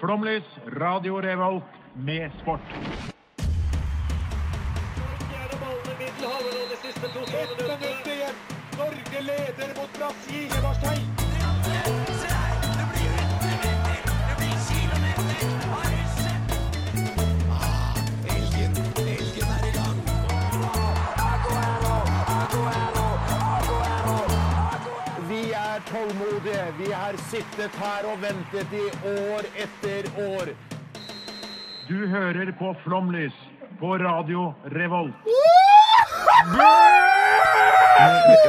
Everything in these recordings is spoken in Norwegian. Flomlys, Radio Revolt, med sport. Ett minutt igjen. Norge leder mot Brasil. Eberstein. Vi er tålmodige. Vi har sittet her og ventet i år etter år. Du hører på Flomlys på Radio Revolt.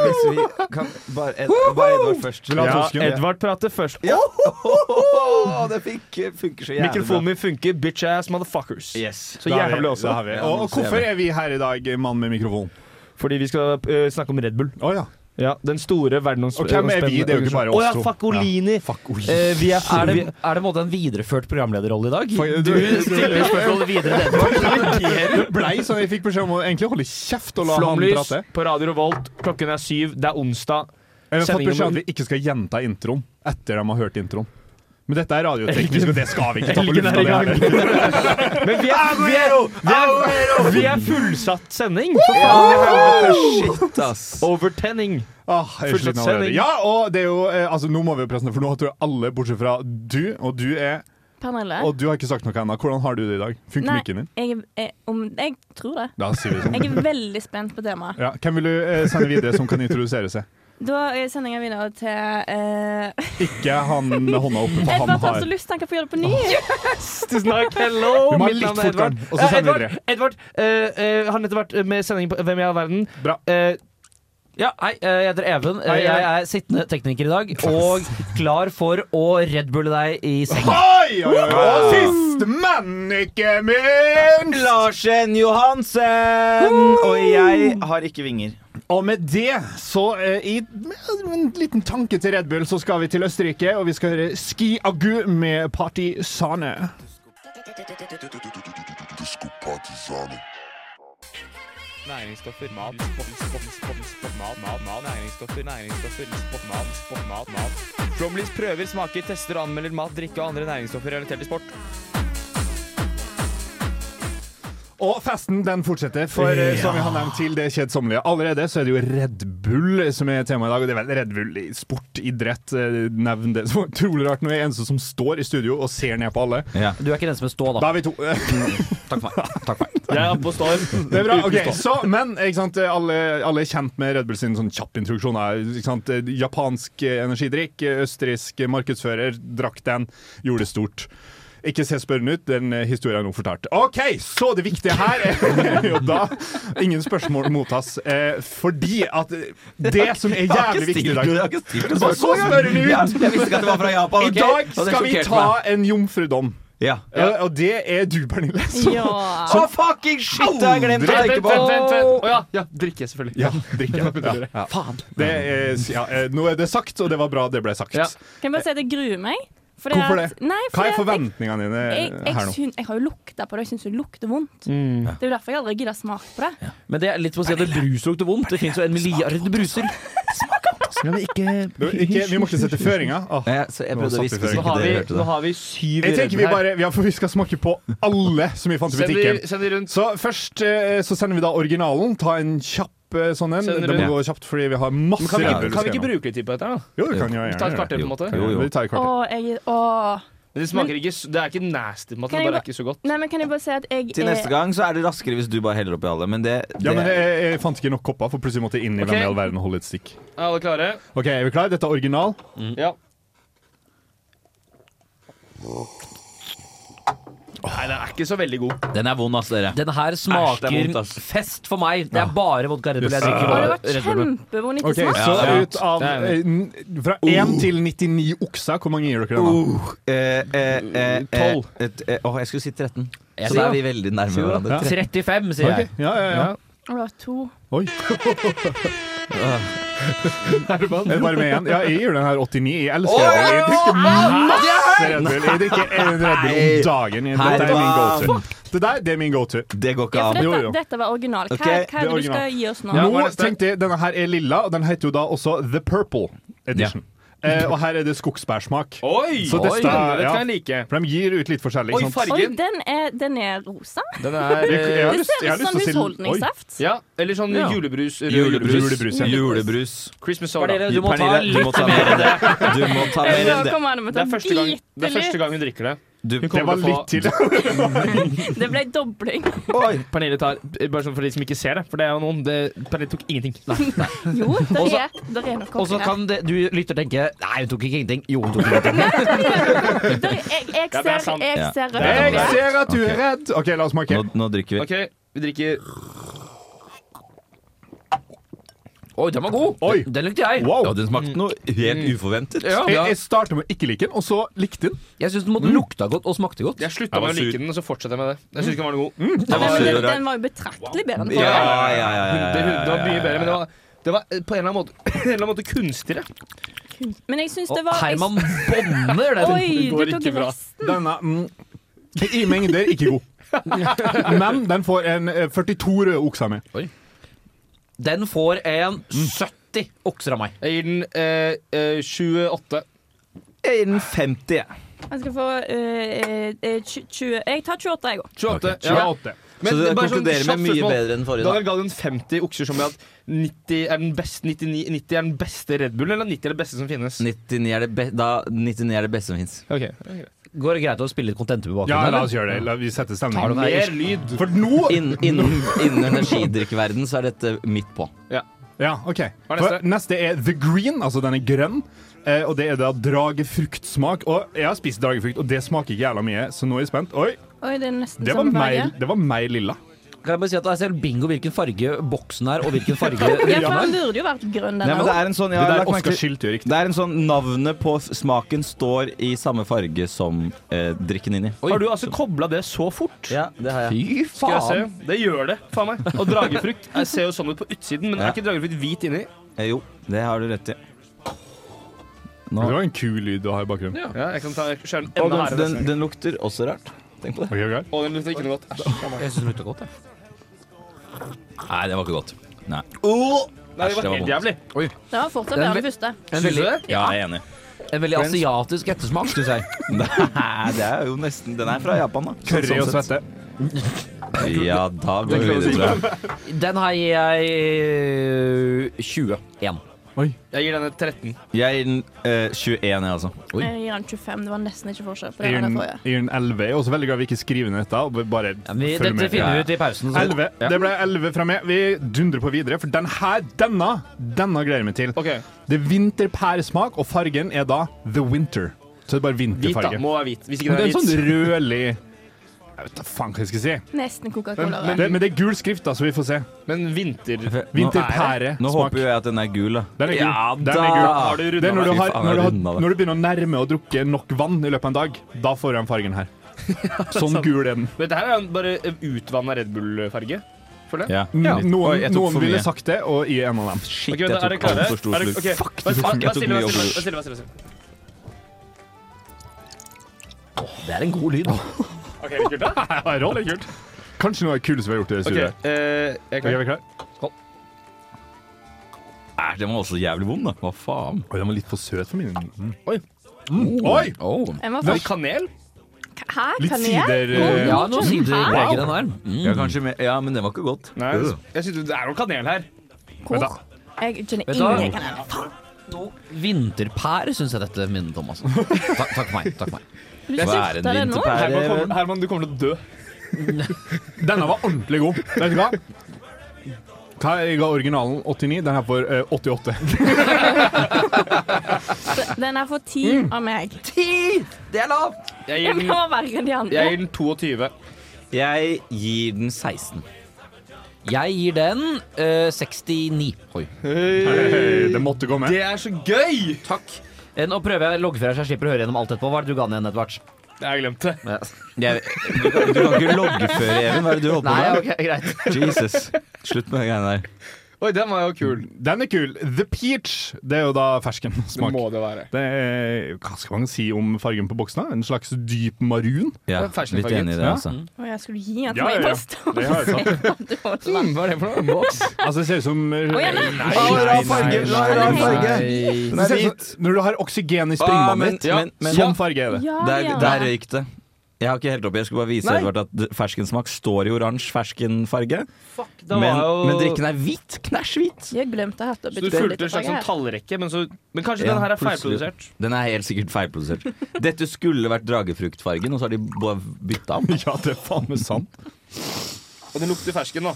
Hvis vi kan bare, Ed, bare Edvard først. Ja, Edvard prater først. Ja. Åh, det fikk, funker så jævlig Mikrofonen min funker, bitch ass motherfuckers. Yes. Så Da er vi- jævlig også. da er vi. Ja, Og, nå og ser hvorfor vi. er vi her i dag, mann med mikrofon? Fordi vi skal eh, snakke om Red Bull. Å ja. Ja, Den store Og hvem er verdensomspennende vi? Det er jo ikke bare oss Å ja, to. fuck Olini! Fuck Oli. Eh, vi er, Er det, vi, er det på en måte en videreført programlederrolle i dag? Fuck, Du du- stiller spørsmålet videre til Edvard. Det blei sånn jeg fikk beskjed om å egentlig holde kjeft og la han Flomlys prate. på Radio Revolt. Klokken er syv, det er onsdag. Jeg har fått Sendingen beskjed om må- at vi ikke skal gjenta introen etter de har hørt introen. Men dette er radioteknisk, Elgen- og det skal vi ikke ta på Helgen lufta. er i gang. det her. Men vi er, vi er, vi er, vi er fullsatt sending! For faen! Shit, ass. Overtenning. Ah, jeg er Fullsatt sliten allerede. sending. Ja, og det er jo eh, Altså, nå må vi jo presentere, for nå tror jeg alle, bortsett fra du, og du er Pernille? Og du har ikke sagt noe ennå. Hvordan har du det i dag? Funker Nei, mikken din? Jeg, er- er- om, jeg tror det. Da sier vi det sånn. Jeg er veldig spent på temaet. Ja, hvem vil du eh, sende videre som kan introdusere seg? Da eh, sender jeg videre til eh, Ikke han med hånda oppe, for han Edvard har har så lyst, han kan få gjøre det på ny. Tusen takk. Hello, Du må ha mitt litt navn er Edvard. fortgang, og så Eh, sender vi Edvard, Edvard eh, eh, har nettopp vært med sending på Hvem i all verden. Bra. Eh, Ja, hei, eh, jeg heter Even. Eh, Hei, hei. Jeg er sittende tekniker i dag og klar for å redbulle deg i seng. Oi, oi, oi. Og sist, men ikke minst! Larsen Johansen! Og jeg har ikke vinger. Og med det, så eh, i med en liten tanke til Red Bull, så skal vi til Østerrike, og vi skal høre Ski Agu med Partisane. Næringsstoffer, mat, sport, sport, sport, sport, mat, mat, mat, næringsstoffer, næringsstoffer, sport, mat, sport, mat, mat. Flomlys prøver, smaker, tester og anmelder mat, drikke og andre næringsstoffer relatert til sport. Og festen den fortsetter, for eh, som vi har nevnt til det kjedsommelige allerede, så er det jo Red Bull eh, som er temaet i dag. Og det er vel Red Bull i sport, idrett, eh, nevn det. Så utrolig rart når jeg er eneste som står i studio og ser ned på alle. Du er ikke den som vil stå, da. Da er vi to. Takk for meg. Takk for meg. jeg er oppe og står. Det er bra. ok, så, Men ikke sant, alle, alle er kjent med Red Bull sin sånn kjapp introduksjon. her, Ikke sant? Japansk eh, energidrikk, eh, østerriksk eh, markedsfører, drakk den, gjorde det stort. Ikke se spørrende ut, den eh, historien er nå fortalt. OK, så det viktige her er jo da Ingen spørsmål mottas. Eh, fordi at det som er jævlig viktig i dag stilt Hva så spørrende Ja, ut! jeg visste ikke at det var fra Japan. I ok? dag Og det skal vi sjokkerte ta meg. en jomfrudom. ja. Eh, Og det er du, Pernille. som- Ja. Å, Ah, fucking shit! Det har jeg glemt å Vent, tenke vent, på. vent. vent. Å ja, ja, drikke, selvfølgelig. Ja, drikke. Ja. Ja. Faen. Det er, ja, eh, nå er det sagt, og det var bra det ble sagt. Ja. Kan jeg bare si at jeg gruer meg? Fordi Hvorfor at- det? Nei, Hva fordi er at forventningene dine Jeg, jeg, jeg, her nå? syn- jeg har jo lukta på det, jeg syns det lukter vondt. Det er jo derfor jeg aldri gidder smake på det. Men det er litt på å si at det brus lukter vondt. Det fins jo en milliard bruser. Du, ikke, vi må ikke sette føringer. Åh. Ja, så jeg Nå prøvde satt å vi hviske før. så Nå har, ikke vi, dere hørte nå det. har vi syv Jeg tenker vi her. bare, ja, for vi skal smake på alle som vi fant i Send de, butikken. send de rundt. Så først eh, så sender vi da originalen. Ta en kjapp eh, sånn en. Sender Det må du- gå kjapt, fordi vi har masse Kan vi, Red Bull kan vi ikke skal gjennom. bruke litt tid på dette? her, da? Jo, vi kan jo gjerne Ta et gjøre det. kvarter, på en måte. Jo, jo. Vi tar et Å, kvarter. jeg Å. Men det smaker ikke s- Det er ikke nasty, på en måte. Kan Det jeg bare er ikke så godt. Nei, men kan jeg bare si at jeg Til neste er gang så er det raskere hvis du bare heller oppi alle, men det, det Ja, men jeg, jeg fant ikke nok kopper, for plutselig måtte jeg inn i Ok. hvem i all verden og holde et stikk. Er alle klare? Ok, Er vi klare? Dette er original. Mm. Ja. Nei, den er ikke så veldig god. Den er vond, ass, dere. Den her Æsj, det er vondt, smaker ass. fest for meg. Det er bare vodka Red Bull jeg Yes. Å, det var drikker. og Red Bull. kjempevond ikke Ok, smak. Så Ja, ja. ut av Det er eh, n- Fra 1 til 99 okser, hvor mange gir dere den? da? Uh, eh, eh, eh, Tolv. eh, et- eh, Åh, jeg skulle si 13. Jeg Så sier da er jo. vi veldig nærme Sier jo. hverandre. Ja. 35, sier jeg. Ok, Ja, ja, ja. Å, det var to. Oi. Er det bare med igjen? Ja, jeg gir den her 89. Jeg elsker Red Bull. Jeg drikker masse Red Bull. Jeg drikker en Red Bull om dagen. Dette er min go-to. Det der, det er min go-to. Det går ikke Ja, for an. Jo, dette, jo. dette var original. Hva, hva Ok, det er er det du original. skal gi oss nå? Nå hva er neste? tenkte jeg, Denne her er lilla, og den heter jo da også The Purple Edition. Eh, og her er det skogsbærsmak. Oi! Så dette- oi, denne, dette ja. kan jeg like. For de gir ut litt forskjellig. Oi, Ikke sant? Oi, fargen. den er, den er rosa. Den er Jeg- jeg har eh, Det lyst- jeg ser har ut lyst som til å si- husholdningssaft. Ja, eller sånn Ja. julebrus. rød Julebrus, ja. Julebrus. Christmas soda. Pernille, du må ta Pernille, du må litt ta mer enn det. Du må ta Eh, mer Nå enn det. kommer han med Det er å første ta gang, det er første bitte litt. gang hun drikker det. Du, Det var Kommer til å litt tidlig. Det ble dobling. Pernille tar Bare sånn for de som ikke ser det, for det er jo noen det, Pernille tok ingenting. Jo, der Også- er, der er noe Og oppi der. så kan det, du lytter tenke Nei, hun tok ikke ingenting. Jo, hun tok ingenting. Der- Jeg, jeg Ja, det er ser, sant. jeg Ja. ser rødt Jeg oppi. ser at du er redd! OK, la oss nå, smake. nå drikker vi. OK, vi drikker Oi, den var god! Oi. Den likte jeg. Wow. Ja, den smakte noe Mm. helt uforventet. Ja, Jeg, ja. jeg startet med å ikke like den, og så likte den. Jeg syns den både lukta godt og smakte godt. Jeg slutta var med å like sur. den, altså. og så fortsetter jeg med det. Jeg syns ikke den var noe god. Den Den, var sur den, og rar. den var jo betraktelig bedre enn Ja, forrige. ja, ja, ja, ja, Det, ja, det var mye ja, bedre, men det ja. var, det var eh, på en eller annen måte, en eller annen måte kunstigere. Men jeg syns Og det var jeg- Herman bånder den. Oi, går du tok ikke bra. resten. Denne mm, i mengder ikke god. Men den får en eh, 42 røde okser med. Den får en 70 okser av meg. Jeg gir den eh, eh, 28. Jeg gir den 50, jeg. Jeg skal få eh, eh, tju- tjue- Jeg tar 28, jeg òg. 28, Ok, ja. Ja. Så Men du bare sånn konkluderer kjapt med mye spørsmål. bedre enn forrige. Daniel ga den 50 okser som i at 90 er den beste, 99, 90 er den beste Red Bullen, eller 90 er det beste som finnes? 99 er det, be da, 99 er det beste som fins. Ok. Går det greit å spille litt kontente på Ja, bakgrunnen? la oss gjøre det. La, vi setter stemningen. Mer lyd. For nå Innen innen- innen energidrikkverden så er dette midt på. Ja, OK. Hva er For neste? neste er The Green, altså den er grønn. Eh, og det er da dragefruktsmak. Og jeg har spist dragefrukt, og det smaker ikke jævla mye, så nå er jeg spent. Oi, Oi, det er nesten det var samme farge. mer, det var mer lilla. Kan jeg bare si at det er selv bingo hvilken farge boksen er, og hvilken farge Ja, for den burde jo vært grønn, den Nei, men det òg. er en sånn, jeg Det har der lagt merke Oskar til- Skilt gjør riktig. det er en sånn Navnet på f- smaken står i samme farge som eh, drikken inni. Har du altså kobla det så fort? Ja, det har jeg. Fy Skal jeg faen! se? Det gjør det, faen meg. Og dragefrukt jeg ser jo sånn ut på utsiden, men Ja. er ikke dragefrukt hvit inni? Eh, jo, det har du rett i. Det Nå. var en kul lyd du har i bakgrunnen. Ja, jeg kan ta skjæren enda Og den, hardere. den, den lukter også rart. Tenk på det. Ok, ok. Og den lukter ikke noe godt. Æsj. Jeg syns den lukta godt, jeg. Nei, det var ikke godt. Nei. Nei, det Æsj, det var var helt jævlig. Det var fortsatt Den bedre enn vil- første. En Syns du veldig, det? Ja, jeg er enig. en veldig asiatisk ettersmak, syns jeg. Nei, det er jo nesten Den er fra Japan, da. Sånn- Sånn Curry og svette. Ja, da går vi videre, tror jeg. Den her gir jeg øh, 21. Jeg gir denne 13. Jeg gir den eh, 21, jeg, altså. Oi. Jeg gir den 25. Det var nesten ikke forskjell på Jeg den gir og den den- forrige. jeg gir den 11. Jeg er også veldig glad vi ikke skriver ned dette. og Bare Ja, vi, følger dette med. finner vi ut i pausen. Så. 11. Det ble 11 fra meg. Vi dundrer på videre, for den her, denne, denne gleder jeg meg til. OK. Det er vinterpæresmak, og fargen er da The Winter. Så det er bare Hvit, da. vinterfarge. Må være hvit. Hvis Men det er ikke den en sånn er hvit. rødlig Jeg vet da faen hva jeg skal si. Nesten Men, Coca-Cola. men, det, men det er gul skrift, da, så vi får se. Men vinter... Vinterpære. Nå smak. håper jo jeg at den er gul, da. Den er gul. Ja, den er gul. da. Har du rundet det er når du, det? har, Fy faen, når, du jeg har, rundet det. når du begynner å nærme å drukke nok vann i løpet av en dag, da får du den fargen her. Sånn gul er den. Men Dette her er jo bare utvanna Red Bull-farge. Føler jeg. Ja. N- Oi, Noen, jeg tok Mm. noen for mye. ville sagt det, og i en av dem. Shit, Ok, vent, jeg er dere tok klare? altfor stor Er dere- slurk. ok. Vær- vær- tok mye vær stille, vær stille, vær overlur. stille, vær stille, vær stille. Det er en god lyd. OK, er det kult, da? Ja, det er rått, det er kult. Kanskje noe av det kuleste vi har gjort i det Ok, studioet. eh, jeg er Ok, klar. er vi klare? Æ, den var også jævlig vond, da. Hva faen? Oi, den var litt for søt for min. Mm. Oi! Mm. Oi! Den var Er det først. kanel? Hæ, Litt kan jeg? sider eh, Ja, nå sier du Hæ? preger den der. Mm. Ja, kanskje mer. Ja, men den var ikke godt. Nei, Øh. jeg synes det er jo kanel her. Hvor? Jeg kjenner Vet du hva? ingen kanel. Faen, No, vinterpære syns jeg dette minnet om, altså. Takk, takk for meg. takk for meg. du Hva er en slutta det nå? vinterpære? Herman, kommer, Herman, du kommer til å dø. Denne var ordentlig god. Vet du hva? Hva jeg ga originalen 89, den her får eh, 88. Den er for ti av meg. Det er lavt! Jeg Den gir den, var verre enn de andre. jeg gir den 22. Jeg gir den 16. Jeg gir den eh, 69. Oi. Hei, det måtte gå med. Det er så gøy! Takk. Eh, Nå prøver jeg å logge fra så jeg slipper å høre gjennom alt etterpå. Hva er det du ga den igjen, Edvard? Jeg glemte det. Jeg, du, kan, du kan ikke loggføre, Even. Hva er det du holder på Nei, med? ok, greit. Jesus. Slutt med de greiene der. Oi, den var jo kul. Den er kul. The peach, det er jo da fersken Det smak. må det være. Det er, hva skal man si om fargen på boksen? da? En slags dyp marun? Ja, Det er fersen litt farget. enig i det, Ja. altså. Og jeg skulle gi en til Ja, meg ja, ja. først. og Det har jeg se at du var så langt. Hva er det for noe? Boks? Altså, det ser ut som Nei, ja, nei. rar farge, rar farge. Det ser ut som Når du har oksygen i Ah, men- springvannet ditt, ja, men- sånn farge er det. Ja, Der, ja. der røyk det. Jeg har ikke helt opp, jeg skulle bare vise Edvard at d- ferskensmak står i oransje ferskenfarge. Fuck, da Men, var jo men drikken er hvit. Knæsj hvit. Jeg glemte å hette opp Så du fulgte en slags sånn tallrekke, men, så, men kanskje Ja, den her er plutselig. feilprodusert? Den er helt sikkert feilprodusert. Dette skulle vært dragefruktfargen, og så har de bare bytta om. Ja, det er faen meg sant. Mm, Og den lukter fersken, da.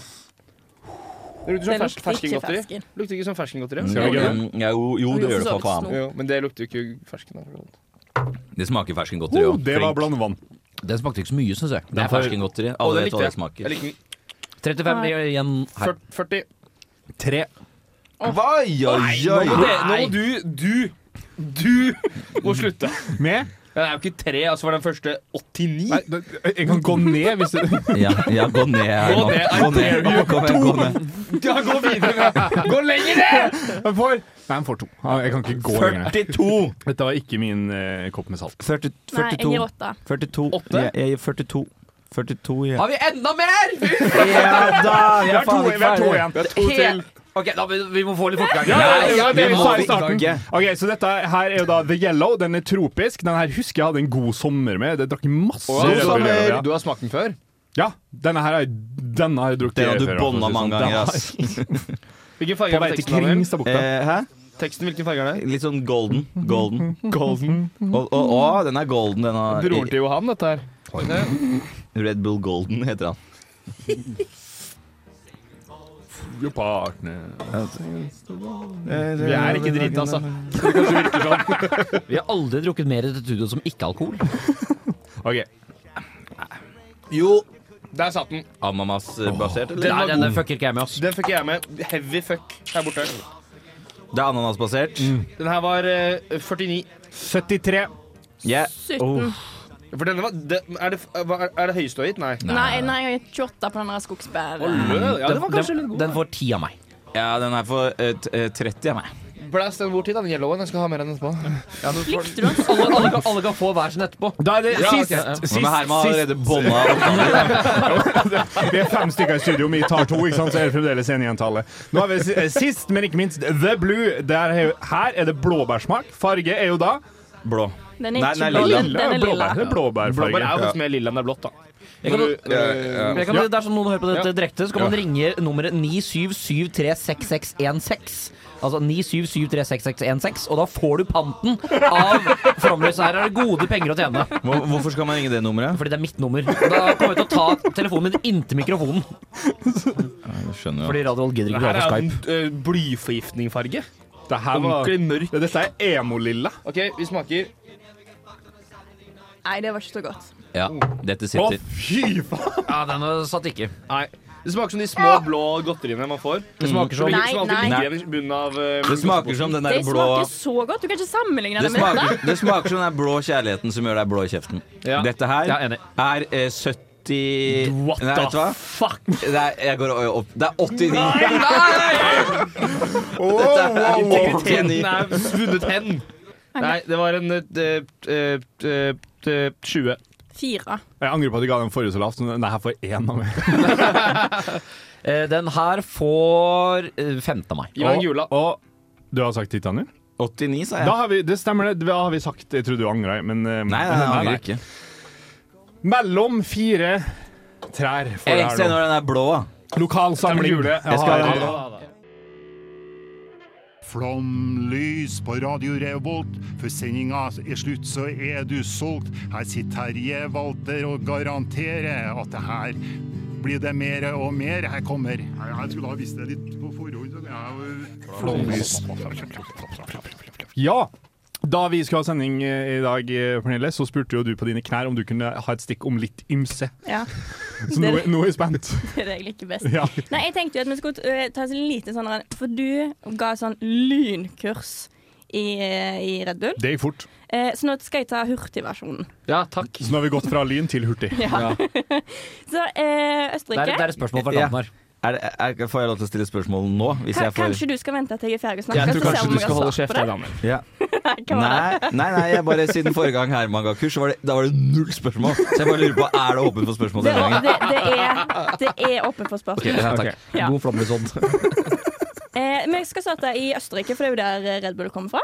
Det lukter som Den fersk, lukter ikke ferskengodteri. fersken. Lukter ikke som ferskengodteri. Mm, Skal vi ikke det? mm, ja, jo, jo, det Og gjør det så for faen. snop. Jo, men det lukter jo ikke fersken. Da. for godt. Det smaker ferskengodteri Oh, òg. det var blant vann. Den smakte ikke så mye, syns jeg. Det Nei, er for- ferskengodteri. Å, Alle den vet likte hva det jeg. Jeg smaker. liker den. 35 igjen her. 40. 40. Tre. Oi, oi, oi! Det, nå må du Du! Du må slutte. Med? Den er jo ikke tre, altså var den første 89. Nei, det- jeg kan gå ned hvis du Ja, ja, gå ned her Gå nå. ned, I Gå ned. dare you. Kom igjen, gå ned. Ja, gå videre med Gå lenger ned! Han får Nei, han får to. Han- Jeg kan ikke gå lenger. 42! Dette var ikke min eh, kopp med salt. 40, Nei, jeg 42. gir åtte. 42. Åtte? Jeg- Jeg gir 42. 42 ja. Har vi enda mer?! Ja da! Vi har to- vi har to igjen. Vi har to til. Ok, da, vi, vi må få litt fortgang. Ja, ja, ja, det vi vi må sa i ikke. starten. Ok, så dette her er jo da The Yellow. Den er tropisk. Den her husker jeg hadde en god sommer med. Jeg drakk masse Å, Red Bull Yellow, ja. Du har smakt den før? Ja, denne her har jeg- denne har jeg drukket Den har før. du for å bånda si det mange sånn. ganger, Den har- ass. Hvilken På farge vei er det til teksten? Daniel? Kringstadbukta. Eh, hæ? teksten? Hvilken farge er det? Litt sånn golden. Golden. Golden. Å, å, å, den er golden, den har Broren til Johan, dette her. Red Bull Golden heter han. Jo, partner. Vi Jeg Eh, er ikke drita, altså. Vi har aldri drukket mer i dette studioet som ikke-alkohol. Ok. Jo. Der satt den. Ananasbasert, eller? Nei, denne fucker ikke jeg med, ass. Den fikk jeg med. Heavy fuck her borte. Det er ananasbasert. Den her var eh, 49. 73. Ja. 17. Oh. For denne var det, er, det, hva- er det høyeste du har gitt? Nei. Nei, nei, jeg gir 28 på den der skogsbæren. Lø, Ja, den var kanskje litt god. Den får ti av meg. ja, den er for eh, t- eh, 30 av meg. Blast den bort til, da, den yellowen. Jeg skal ha mer enn etterpå. Likte du den? Alle, alle, kan, alle kan få hver sin etterpå. Da er det sist. ok, ja. sist, Men Herman sist. har allerede bånda oppgaven. Vi er fem stykker i studio, vi tar to, ikke sant? så er det fremdeles en igjen-tallet. Nå har vi si- eh, sist, men ikke minst, The Blue. Der er jo, her er det blåbærsmak. Farge er jo da Blå. Den er Nei, ikke den er blå. lilla. Den den er lilla. Blåbær. Det er blåbærfarge. Blåbær er jo faktisk mer lilla enn det er blått, da. Jeg kan, Når du- jeg kan, Dersom noen hører på dette Ja. direkte, så kan man ringe nummeret 97736616. Altså 97736616, og da får du panten av Flomlys. Her er det gode penger å tjene. Hvor- Hvorfor skal man ringe det nummeret? Fordi det er mitt nummer. Og Da kommer jeg til å ta telefonen min inntil mikrofonen. Jeg skjønner jo. Fordi Radio Roll gidder ikke å Her ha på er Skype. en eh, blyforgiftningfarge. Det her var- Ordentlig mørk. Ja, Dette er emo-lilla. OK, vi smaker. Nei, det var ikke så godt. Ja, dette Å, sitter. fy faen! Ja, den satt ikke. Nei. Det smaker som de små blå godteriene man får. Mm. Det smaker som- som, Nei, alltid nei. ligger i bunnen av eh, Det smaker som den der Det blå smaker så godt. Du kan ikke sammenligne det den med dette. smaker, det smaker som den der blå kjærligheten som gjør deg blå i kjeften. Ja. Dette her Ja, enig. er eh, 70 What Nei, vet du the hva? fuck? Det er, jeg går opp. Det er 89. Dette er Teten 89. er svunnet hen. Nei, det var en eh, eh, eh, eh, 20. Fire. Jeg angrer på at jeg ga den forrige så lavt. men Den her får én av meg. Eh, Den her får eh, 15 av meg. Gi meg en gula. Og du har sagt Titanier? 89, sa Da jeg. har vi, det stemmer, det. Da har vi sagt Jeg trodde du angra, men eh, Nei, nei, nei, nei. ikke. Mellom fire trær får Jeg det ser her nå. når den er blå. da. Lokal samling. Jeg skal- har, Flomlys på Radio Revolt. Før sendinga er slutt, så er du solgt. Her sitter Terje Walter og garanterer at det her blir det mer og mer. Her kommer Jeg skulle ha visst det litt på forhånd. Flomlys. ja. Da vi skulle ha sending eh, i dag, eh, Pernille, så spurte jo du på dine knær om du kunne ha et stikk om litt ymse. Ja, Så nå, nå er jeg spent. det er det jeg liker best. Ja. Nei, jeg tenkte jo at vi skulle eh, ta en liten sånn For du ga et sånn lynkurs i, eh, i Red Bull. Det gikk fort. Eh, så nå skal jeg ta hurtigversjonen. Ja, takk. Så nå har vi gått fra lyn til hurtig. Så eh, Det er, Østerrike det er et spørsmål fra Danmark. Er det, er, får jeg lov til å stille spørsmål nå? Hvis Ka- jeg får... Kanskje du skal vente til jeg er ferdig å snakke? Jeg så tror ser kanskje vi om du jeg skal har holde svar på kjeft, jeg, det. Daniel. Nei, hva var Ja. det? Nei, nei, nei, jeg bare siden forrige gang Herman ga kurs, så var det, da var det null spørsmål. Så jeg bare lurer på, er det åpent for spørsmål Det, denne gangen? det, det, er, det er åpent for spørsmål. Ok, ja, takk. Ja. God flomlysånd. Eh, men jeg skal starte i Østerrike, for det er jo der eh, Red Bull kommer fra.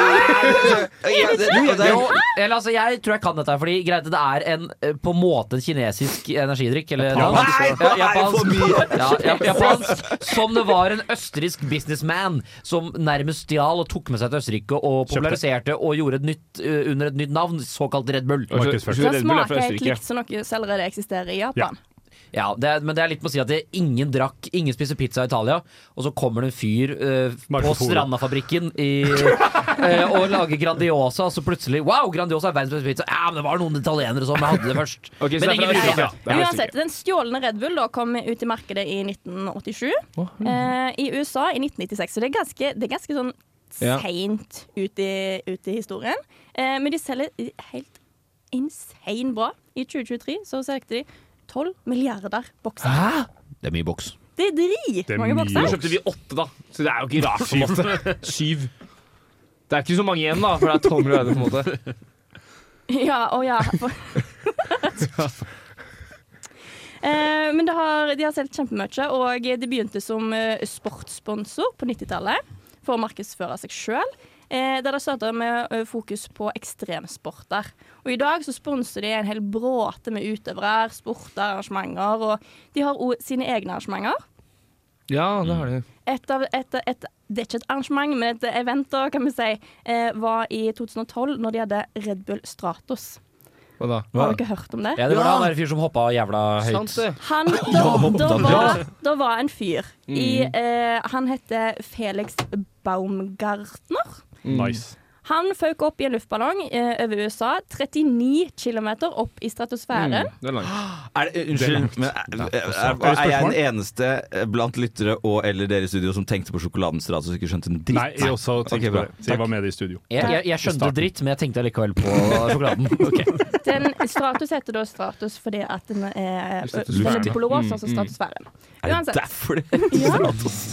Ja, det- og det er- Jo, eller altså, jeg tror jeg kan dette, her, fordi greit, det er en eh, på en måte en kinesisk energidrikk. Eller Japansk. Ja, Nei, nei, for japansk. Ja, ja, japansk. Som det var en østerriksk businessman som nærmest stjal og tok med seg til Østerrike og populariserte og gjorde et nytt, eh, under et nytt navn, såkalt Red Bull. Markedsført. Så Red Bull er fra smaker helt Østerrike. likt som noe som allerede eksisterer i Japan. Ja, det er, Men det er litt med å si at det, ingen drakk, ingen spiser pizza i Italia, og så kommer det en fyr eh, på Marco Polo. Strandafabrikken i, eh, og lager Grandiosa, og så plutselig Wow, Grandiosa er verdens beste pizza! Ja, men det var noen italienere som hadde det først. Ok, så men det er fra brydde seg. Østerrike, ja. Det er Østerrike. Uansett, den stjålne Red Bull da kom ut i markedet i 1987. eh, I USA i 1996, så det er ganske, det er ganske sånn Ja. seint ut, i- ut i historien. Eh, men de selger i- helt insane bra. I 2023 så solgte de 12 milliarder bokser. Hæ? Det er mye boks. Det er drit Det er mange mye bokser. boks. kjøpte vi åtte, da. Så det er jo ikke rart. på en måte. Syv. Det er ikke så mange igjen, da, for det er tolv milliarder. på en måte. Ja, og ja. For... Eh, men det har, de har solgt kjempemye, og de begynte som eh, sportssponsor på 90-tallet for å markedsføre seg sjøl. Der det starta med eh, fokus på ekstremsporter. Og i dag så sponser de en hel bråte med utøvere, sporter, arrangementer. Og de har òg sine egne arrangementer. Ja, det har de. Et av, et, et, det er ikke et arrangement, men et event da, kan vi si, eh, var i 2012, når de hadde Red Bull Stratos. Hva da? Har dere hørt om det? Ja, det var han der fyren som hoppa jævla høyt. Sant, det. Han, da, da, var, da var en fyr Mm. i eh, Han heter Felix Baumgartner. Mm. Nice. Han føk opp i en luftballong eh, over USA, 39 km opp i stratosfæren. Mm. Det er langt. Er det, unnskyld, men er, er, er, Er det er jeg den spørsmål? eneste eh, blant lyttere og eller dere i studio som tenkte på sjokoladens ras og ikke skjønte en dritt? Nei, jeg også Ok, tenkte bra. på det. Så jeg var med i studio. Jeg, jeg, jeg skjønte dritt, men jeg tenkte allikevel på sjokoladen. Den Stratos heter da Stratos fordi at den er, eh, den er blåst, altså stratosfæren. Mm, Er det Uansett. derfor det Ja. Stratos?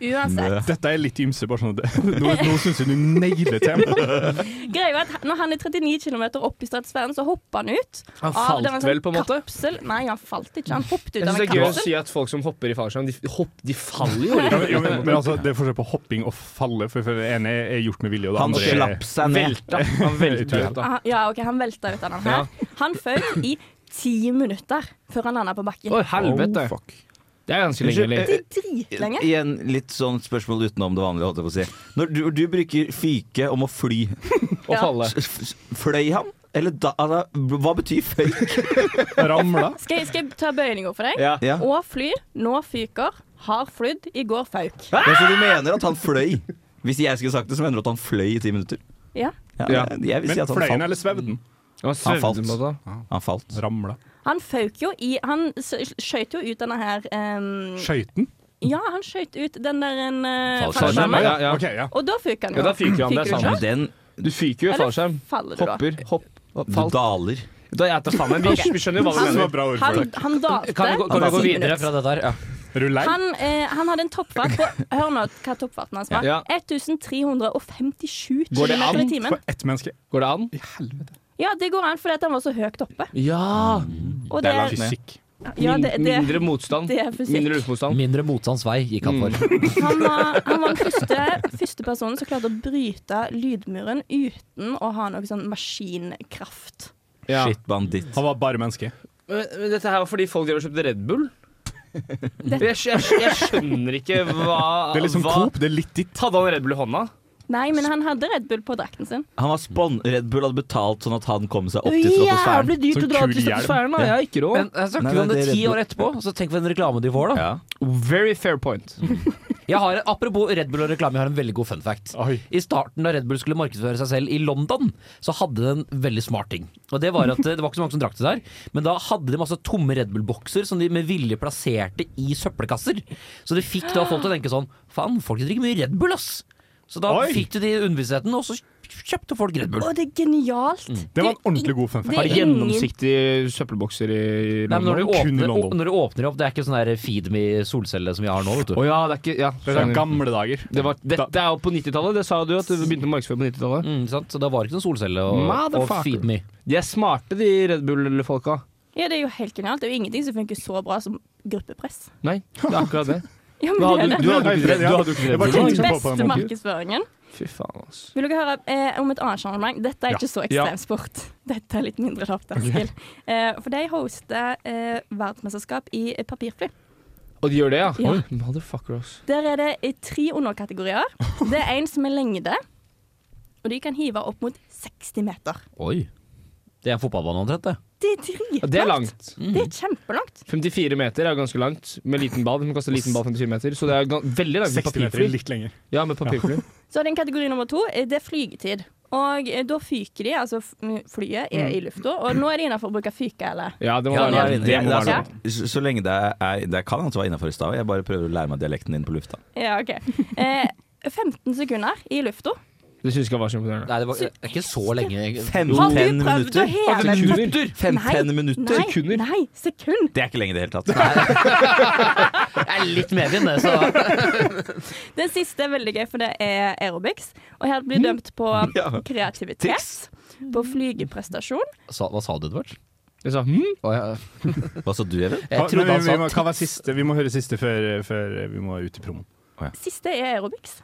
Uansett. Dette er litt ymse, bare sånn at det- Nå, nå syns jeg du nailer temaet. Greia er at når han er 39 km opp i stratosfæren, så hopper han ut. Han av- falt det var en sånn vel, på en måte? Kapsel. Nei, han falt ikke. Han hoppet ut Jeg av syns det en er gøy å kapsel. si at folk som hopper i fallskjerm, de, hopp, de faller jo. Ja, men, jo, men, men altså, det er forskjell på hopping og falle. For, for det ene er gjort med vilje, og det Han andre slapp seg ned. Velta. Han velter ut, da. Ah, Ja, ok, han velta ut av den her. Han føk i ti minutter før han landa på bakken. Å, helvete. fuck. Det er ganske lenge. Unnskyld, eller? Det er dritlenge. Igjen litt sånn spørsmål utenom det vanlige. Holdt jeg på å si. Når du, du bruker fyke om å fly, Å Ja. falle. f- f- fløy han? Eller da, altså, hva betyr føyk? Ramla. Skal, jeg- skal jeg ta bøyninga for deg? Ja. Ja. Og fly. Nå fyker. Har flydd. I går fauk. Ja, så du mener at han fløy? Hvis jeg skulle sagt det, så mener du at han fløy i ti minutter? Ja. Ja, Ja. Jeg vil si Men at han fløy den, falt. eller svevde den? Han, Han falt. svevde på det. Han falt. Ramla. Han føk jo i Han s- skjøt jo ut denne her ehm, Skøyt den? Ja, han skjøt ut den der en eh, Fallskjermen. fallskjermen. Ja, ja. Ok, ja. Og da fyker han jo. Ja, da fyker han, det er du sant. ikke? Men den Du fyker jo i Eller fallskjerm. Faller du da? Hopper, hopp, du falt. daler. Da jeg tar faen meg. Vi, vi skjønner jo hva du Det var mener. bra ord for Han, det. han dalte. Kan vi gå- kan vi i gå ti videre minutter. Fra dette her, ja. Rullei. Han, eh, han hadde en toppfart på Hør nå hva toppfarten hans var. Ja. 1357 Går det km i an? timen. For ett menneske. Går det an? Ja, det går an fordi at han var så høyt oppe. Ja! Og Det er langt ned. Fysikk. ja, det, det, Mindre motstand. det er fysikk. Mindre luftmotstand. Mindre motstands vei gikk han for. han, var, han var den første, første personen som klarte å bryte lydmuren uten å ha noe sånn maskinkraft. Ja. Shit, banditt. Han var bare menneske. Men, men dette her var fordi folk drev og kjøpte Red Bull? Dette- Jeg, skj- jeg, skj- jeg skjønner ikke hva, Det er liksom hva Coop, det er litt ditt. Hadde han Red Bull i hånda? Nei, men han hadde Red Bull på drakten sin. Han var spon Red Bull hadde betalt sånn at han kom seg opp til stratosfæren. dyrt å dra til stratosfæren, da. Jeg har ikke Men jeg Nei, snakker nei, vi om det det er ti Red Bull. år etterpå, så tenk for en reklame de får, da. Ja. Very fair point. Jeg har, en- apropos Red Bull og reklame, jeg har en veldig god fun fact. Oi. I starten da Red Bull skulle markedsføre seg selv i London, så hadde de en veldig smart ting. Og Det var at eh, det var ikke så mange som drakk det der, men da hadde de masse tomme Red Bull-bokser som de med vilje plasserte i søppelkasser. Så det fikk da folk til å tenke sånn Faen, folk drikker mye Red Bull, ass! Så da Oi. fikk du de underbevisstheten, og så kjøpte folk Red Bull. Å, det er Mm. genialt. Det var en ordentlig god fun fact. Det Har er de gjennomsiktige søppelbokser i Nei, men London? når, du kun i åpner, London. å- når du åpner opp, det er ikke sånn der feed me solcelle som jeg har nå, vet du. Å ja, det er ikke Ja, Det er sånn skjønner. gamle dager. Det var, dette er jo på 90-tallet. Det sa du at du begynte å markedsføre på 90-tallet. Mm, ikke sant? Så da var det ikke noen solcelle og, og Motherfucker. feed me. De er smarte, de Red Bull-folka. Ja, det er jo helt genialt. Det er jo ingenting som funker så bra som gruppepress. Nei, det er akkurat det. Ja, Du hadde, men det er du det. hadde, ikke Red- du hadde jo ikke Red Jeg bare Bull. tenkte Den på på beste den måten. markedsføringen. Fy faen, altså. Vil dere høre eh, om et annet sjarmang? Dette er Ja. ikke så Ja. ekstremsport. Dette er litt mindre lavt, Eskil. Eh, for de hoster eh, verdensmesterskap i eh, papirfly. Og de gjør det, ja? Ja. Oi, motherfucker, ass. Der er det eh, tre underkategorier. Det er en som er lengde, og de kan hive opp mot 60 meter. Oi. Det er en fotballbane omtrent, det. Det er dritlangt. Ja, det er langt. Mm. Det er kjempelangt. 54 meter er ganske langt, med liten ball. Den kaster liten ball 54 meter, så det er gan- veldig langt med 60 meter, papirfly. litt lenger. Ja, med papirfly. Så er det en kategori nummer to. eh, Det er flygetid. Og eh, da fyker de, altså f- Mm. flyet er i lufta, og nå er de innafor å bruke fyke, eller? Ja, det må være Ja, det, er, lov. det, Det må er være Ja. lov. sånn, så, så lenge det er Det kan altså være innafor i stad. Jeg bare prøver å lære meg dialekten din på lufta. Ja, OK. Eh, 15 sekunder i lufta. Det syns jeg var så imponerende. Nei, det var det er ikke så lenge. Har du prøvd 5-10 å minutter? heve Sekunder! Nei, 5-10 minutter? Nei, nei, sekund. Det er ikke lenge i det hele tatt. Jeg er litt med i det, så Den siste er veldig gøy, for det er aerobics. Og her blir dømt på Ja. kreativitet, på flygeprestasjon. Sa- Hva sa du, Edvard? Jeg sa hm? Å, ja. Hva sa du, Even? Jeg Men trodde han vi, vi, må, sa kan være siste, vi må høre siste før, før vi må ut i promoen. Siste er aerobics.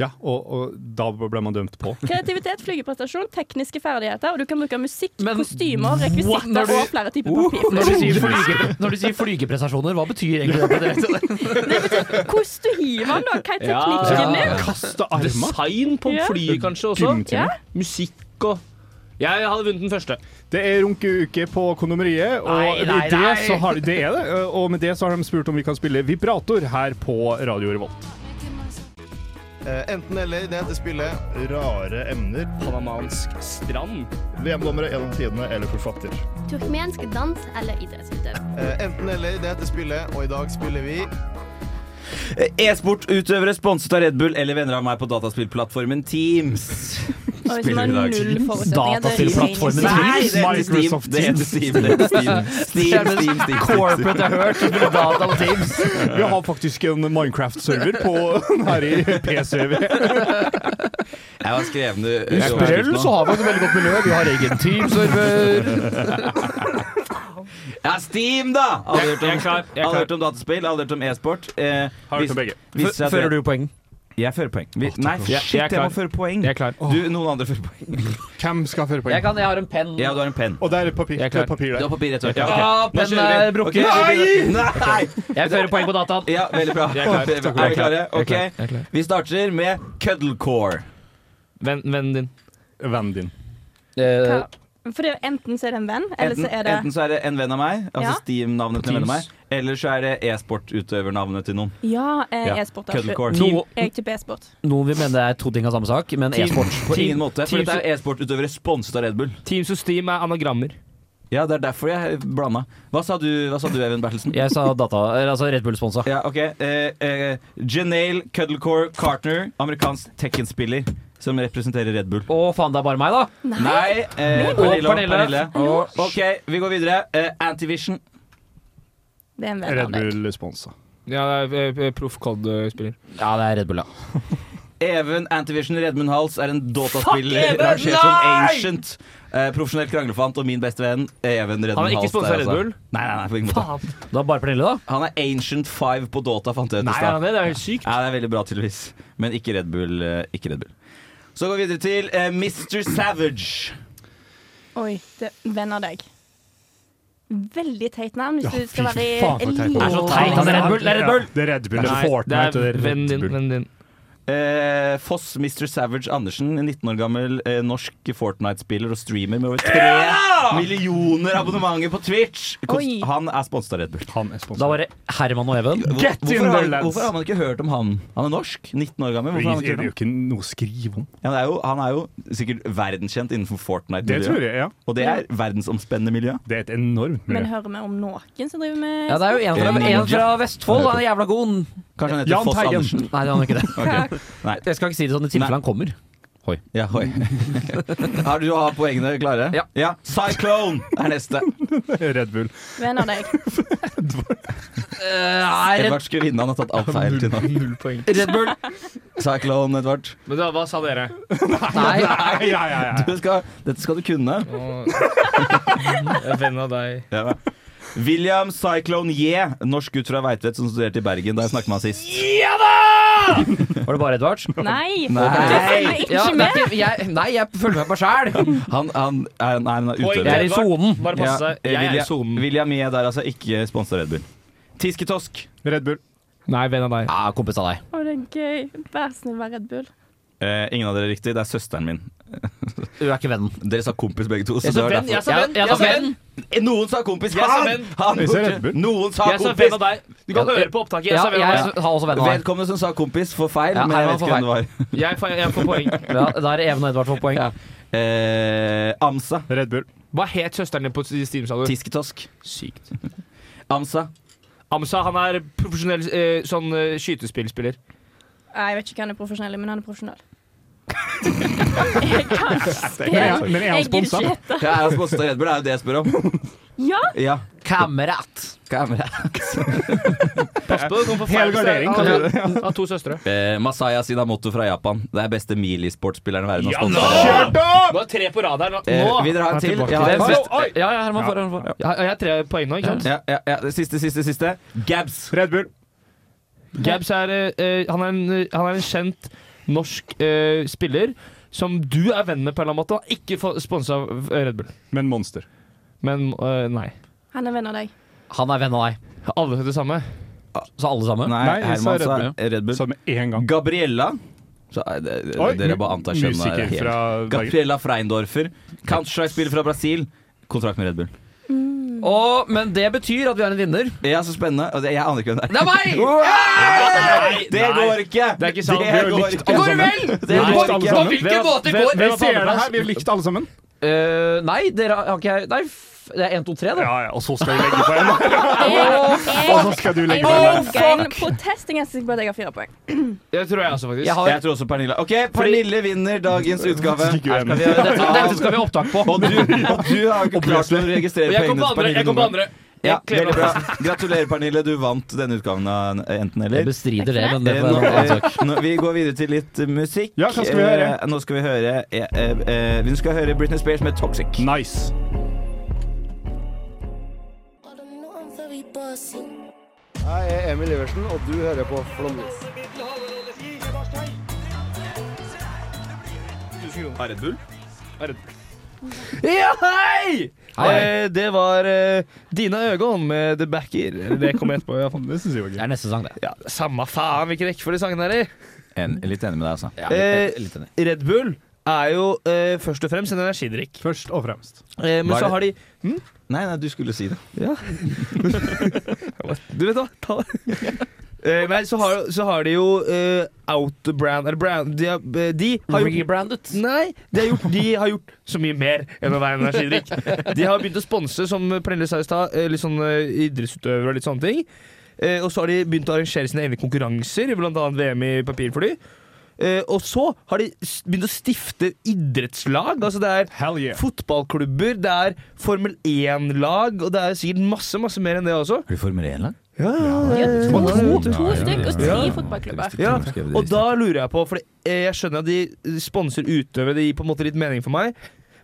Ja, og, og da ble man dømt på. Kreativitet, flygeprestasjon, tekniske ferdigheter, og du kan bruke musikk, Men- kostymer, What? Uh. Når rekvisitter du- og flere typer papir. når du, sier flyge, når du sier flygeprestasjoner, hva betyr egentlig det? Hvordan du hiver den, da? Hva er teknikken Ja. din? Kaste arma! Design på Ja. flyet, kanskje, også? Ja. Gymtimer. Musikk og Jeg hadde vunnet den første. Det er runkeuke på kondomeriet, og Nei, nei, med det nei. så har det er det. Og med det så har de spurt om vi kan spille vibrator her på Radio Revolt. Eh, enten eller, det heter spillet Rare emner. Panamansk strand. VM-dommere gjennom tidene eller forfatter. Turkmensk dans eller idrettsutøver. Eh, enten eller, det heter spillet, og i dag spiller vi E-sportutøvere sponset av Red Bull eller venner av meg på dataspillplattformen Teams. Og hvis Spiller man har i dag. null forutsetninger, det er Dataspillplattformen. regning. Nei, det heter Steam. Microsoft Det heter Steam. Det heter Steam. Steam, Steam, Steam, Steam. Corporate jeg har hørt, så blir det data og Teams. Vi har faktisk en Minecraft-server på- her i PCV. Jeg var skrevet I Sprell så har vi et veldig godt miljø. Vi har egen Teams-server. Ja, Steam, da! Alle har hørt Jeg er om, klar. Jeg alle har er hørt om dataspill, alle har hørt om e-sport. Eh, Har hørt om begge. Fører du poeng? Jeg fører poeng. Vi, nei, Jeg- jeg shit, jeg, er klar. må føre poeng. Jeg er klar. Du, noen andre fører poeng. Hvem skal føre Jeg, poeng? kan, jeg har en penn. Ja, du har en penn. Og der er papir, Jeg er det klar. er papir Du der. har papir rett og slett. Ja, ok. Nå pennen kjører vi. er brukket. Ok, Nei! Jeg eh, fører poeng på dataen. Ja, veldig bra. Jeg er klar. Er vi klare? Ok. Jeg er klar. Vi starter med cuddlecore. Venn- Vennen din. Vennen din. Hva- For det er jo enten så er det en venn, eller Enten, så er det enten så er det en venn av meg, altså Ja. Steam-navnet til en venn av Teams. meg, eller så er det e-sportutøvernavnet til noen. Ja, eh, Ja, e-sport. absolutt. Cuddlecore. Noe, Jeg typer e-sport. noe vi mener er to ting av samme sak, men e-sport. På ingen måte, for Teams- dette er e-sportutøvere sponset av Red Bull. Teams og Steam er anagrammer. Ja, det er derfor jeg blanda. Hva sa du, hva sa du Even Bertelsen? Jeg sa data, eller altså Red Bull-sponsa. Ja, ok. Eh, eh, Janelle Cuddlecore Cartner, amerikansk Tekken-spiller som representerer Red Bull. Å faen, det er bare meg, da? Nei, eh, Pernille og Pernille. Pernille. Ok, vi går videre. Eh, Antivision. Det er en venn av Red deg. Bull-sponsa. Ja, det er eh, proff COD-spiller. Ja, det er Red Bull, ja. Even Antivision Redmund Hals er en dataspiller rangert som ancient. Eh, profesjonell kranglefant og min beste venn Even Redmund Hals. Han er ikke der sponset av Red også. Bull? Nei, nei, nei, på ingen måte. Da bare Pernille, da? Han er ancient five på Dota, fant jeg ut i Nei, stad. det er helt sykt. Ja, det er veldig bra, tydeligvis. Men ikke Red Bull. eh, Ikke Red Bull. Så går vi videre til eh, Mr. Savage. Oi, det er en venn av deg. Veldig teit navn hvis du skal være faen, for i teit navn. eliten. Det er så teit, han er Red Bull, det er Red Bull. Ja, Det er Red Bull. Det Nei, er Fortnite, det og er vennen din. Red Bull. Vennen din. Eh, Foss Mr. Savage Andersen, en 19 år gammel eh, norsk Fortnite-spiller og streamer med over tre millioner abonnementer på Twitch. Kost, Oi. han er sponset av Red Bull. Han er Da sponsa. var det Herman og Even. Get Hvorfor in har, there, man- lads. hvorfor har man ikke hørt om han? Han er norsk, 19 år Det gammel. Hvorfor har man ikke er hørt om? jo ikke noe å skrive om. Ja, han, er jo, han er jo sikkert verdenskjent innenfor Det tror Fortnite-miljøet. jeg, ja. Og det er verdensomspennende miljø. Det er et enormt miljø. Men hører vi om noen som driver med Ja, det er jo en fra, en fra Vestfold. Han er jævla god. Kanskje han heter Jahn Foss Teigen. Andersen. Nei, han er ikke det. Ok. Nei. Jeg skal ikke si det sånn i tilfelle han kommer. Hoi. Ja, hoi. Har du har poengene klare? Ja. Cyclone er neste. Red Bull. Hvem av deg? Edvard skulle vinne, han har tatt alt feil til nå. Null poeng. Red Bull. Cyclone, Edvard. Men da, hva sa dere? Nei. Ja, ja, ja. Du skal, dette skal du kunne. Eh, Venn av deg. Ja. William Cyclone Ye, norsk gutt fra Veitvet som studerte i Bergen da jeg snakket med han sist. Var det bare Edvard? Nei! Du Nei. følger ikke Ja, det med. er ikke, jeg, nei, jeg følger meg på sjæl. Han, han er, nei, han er utøver. Jeg er i sonen. Bare Ja, passe seg. eh, Jeg er i William- sonen. William Ye der, altså. Ikke sponsa Red Bull. Tisketosk. Red Bull. Nei, venn av deg. Ja, kompis av deg. Å, det er gøy. Vær snill, vær Red Bull. Eh, ingen av dere er riktig. Det er søsteren min. Du er ikke vennen. Dere sa kompis begge to. Så Jeg det sa var venn, derfor. jeg sa venn, Jeg- jeg jeg sa sa venn. venn, Noen sa kompis! Jeg sa han! venn. Han Jeg sa gjorde- Red Bull. Noen sa jeg sa kompis! venn av deg. Du kan Ja, høre på opptaket. Jeg Ja, sa venn av jeg deg. har også venn av deg. Vedkommende som sa kompis, får feil, Ja, men jeg Herman vet får ikke hvem det var. Jeg får, jeg får poeng. Ja, der er Even og Edvard får poeng. Ja. Eh, Amsa. Red Bull. Hva het søsteren din på Steam, sa du? Tisketosk. Sykt. Amsa. Amsa, han er profesjonell eh, sånn eh, skytespillspiller. Nei, Jeg vet ikke hva han er profesjonell i, men han er profesjonell. jeg kan Men, spille. men er han Jeg gidder sponsa? ikke hette. Ja, er han sponset av Red Bull? Det er jo det jeg spør om. Ja, Ja. Kamerat. Pass på, du kommer på Hel feil gardering, sted. kan Han han har to søstre. Eh, Masaya Sinamoto fra Japan. Det er beste mili-sportsspilleren i verden. og sponset av Red Bull. Kjørt opp! Du har tre på rad her nå. Eh, Nå! vil dere ha en til? tilbake Jeg har en til siste. Oi! Ja, ja, Herman får. Herman får. Ja, Jeg har tre poeng nå, ikke sant? Ja, ja, ja. Det Siste, siste, siste. Gabs. Red Bull. Gabs er, eh, han er, en, han er en kjent norsk eh, spiller som du er venn med på en eller annen måte, og ikke sponsa av eh, Red Bull. Men Monster. Men eh, nei. han er venn av deg. Han er venn av deg. Alle det samme. Så alle sammen? Nei, Nei, så er Herman Red sa Bull, Red Bull. Sa med én gang. Gabriella. Så, eh, det, det, Oi, dere bare antar kjønn. musiker er helt- fra Bergen. Gabriella Freindorfer. Counter-Strike-spiller fra Brasil. Kontrakt med Red Bull. Å, men det betyr at vi er en vinner. Ja, så spennende. Og det- Jeg aner ikke hvem det er. Det er meg! Nei, det nei. går ikke! Det er ikke sant. Det Vi har jo går likt ikke. Går det vel? Det Nei, går alle ikke. sammen. hvilken Hvem- måte hvem- går- Hvem hvem ser var på det andreplass? her? Vi har likt alle sammen. Eh, nei, dere har ikke jeg Nei, f det er 1, 2, 3, det. Ja, ja, og så skal vi legge på en. Jeg, Og så skal du jeg, legge på en. jeg legger en protest. Jeg er ganske sikker på at jeg har fire poeng. Det tror jeg også, faktisk. Jeg har, Jeg tror også Pernille. OK, Pernille vinner dagens utgave. Gikk jo igjen. dette, dette skal vi ha opptak på. Og du, og du har jo ikke klart å registrere Og jeg kom poengene på andre! til Pernille. jeg kom på noen gang. andre Ja, Jeg klemmer veldig bra. Gratulerer, Pernille. Du vant denne utgaven av Enten Jeg eller. bestrider det, men det Eh, får Nå, være en annen sak. eh, nå, vi går videre til litt eh, musikk. Ja, hva skal vi høre? Eh, Nå skal vi høre eh, eh, eh, Vi skal høre Britney Spears med 'Toxic'. Nice. Jeg er Emil Iversen, og du hører på Flåmlys. Ja, hei! Eh, det var eh, Dina Øgon med The Backer. Eh, Det kommer etterpå. i hvert fall. Det syns jeg var Det gøy. er neste sang, det. Ja, samme faen hvilken rekkefølge sangen er i. En, litt enig med deg, altså. Eh, Litt enig. Red Bull er jo eh, først og fremst en energidrikk. Først og fremst. Eh, men Hva er så har de Nei, nei, du skulle si det. Du vet hva, ta det. Eh, nei, så har, så har de jo eh, Out-brand Eller brand De, har- eh, de har gjort Rebrandet. Nei, de har, gjort, de har gjort så mye mer enn å være energidrikk. De har begynt å sponse, som Pernille sa i stad, eh, litt sånn eh, idrettsutøvere og litt sånne ting. Eh, og så har de begynt å arrangere sine egne konkurranser, bl.a. VM i papirfly. Eh, og så har de s- begynt å stifte idrettslag. Altså det er Hell yeah. fotballklubber, det er Formel 1-lag, og det er sikkert masse, masse mer enn det også. Har du Formel 1-lag? Ja, Ja, to, to to stykk og tre Ja, ja. fotballklubber. Ja, Skrevet i og da lurer jeg på, for jeg skjønner at de sponser utøvere, det gir på en måte litt mening for meg,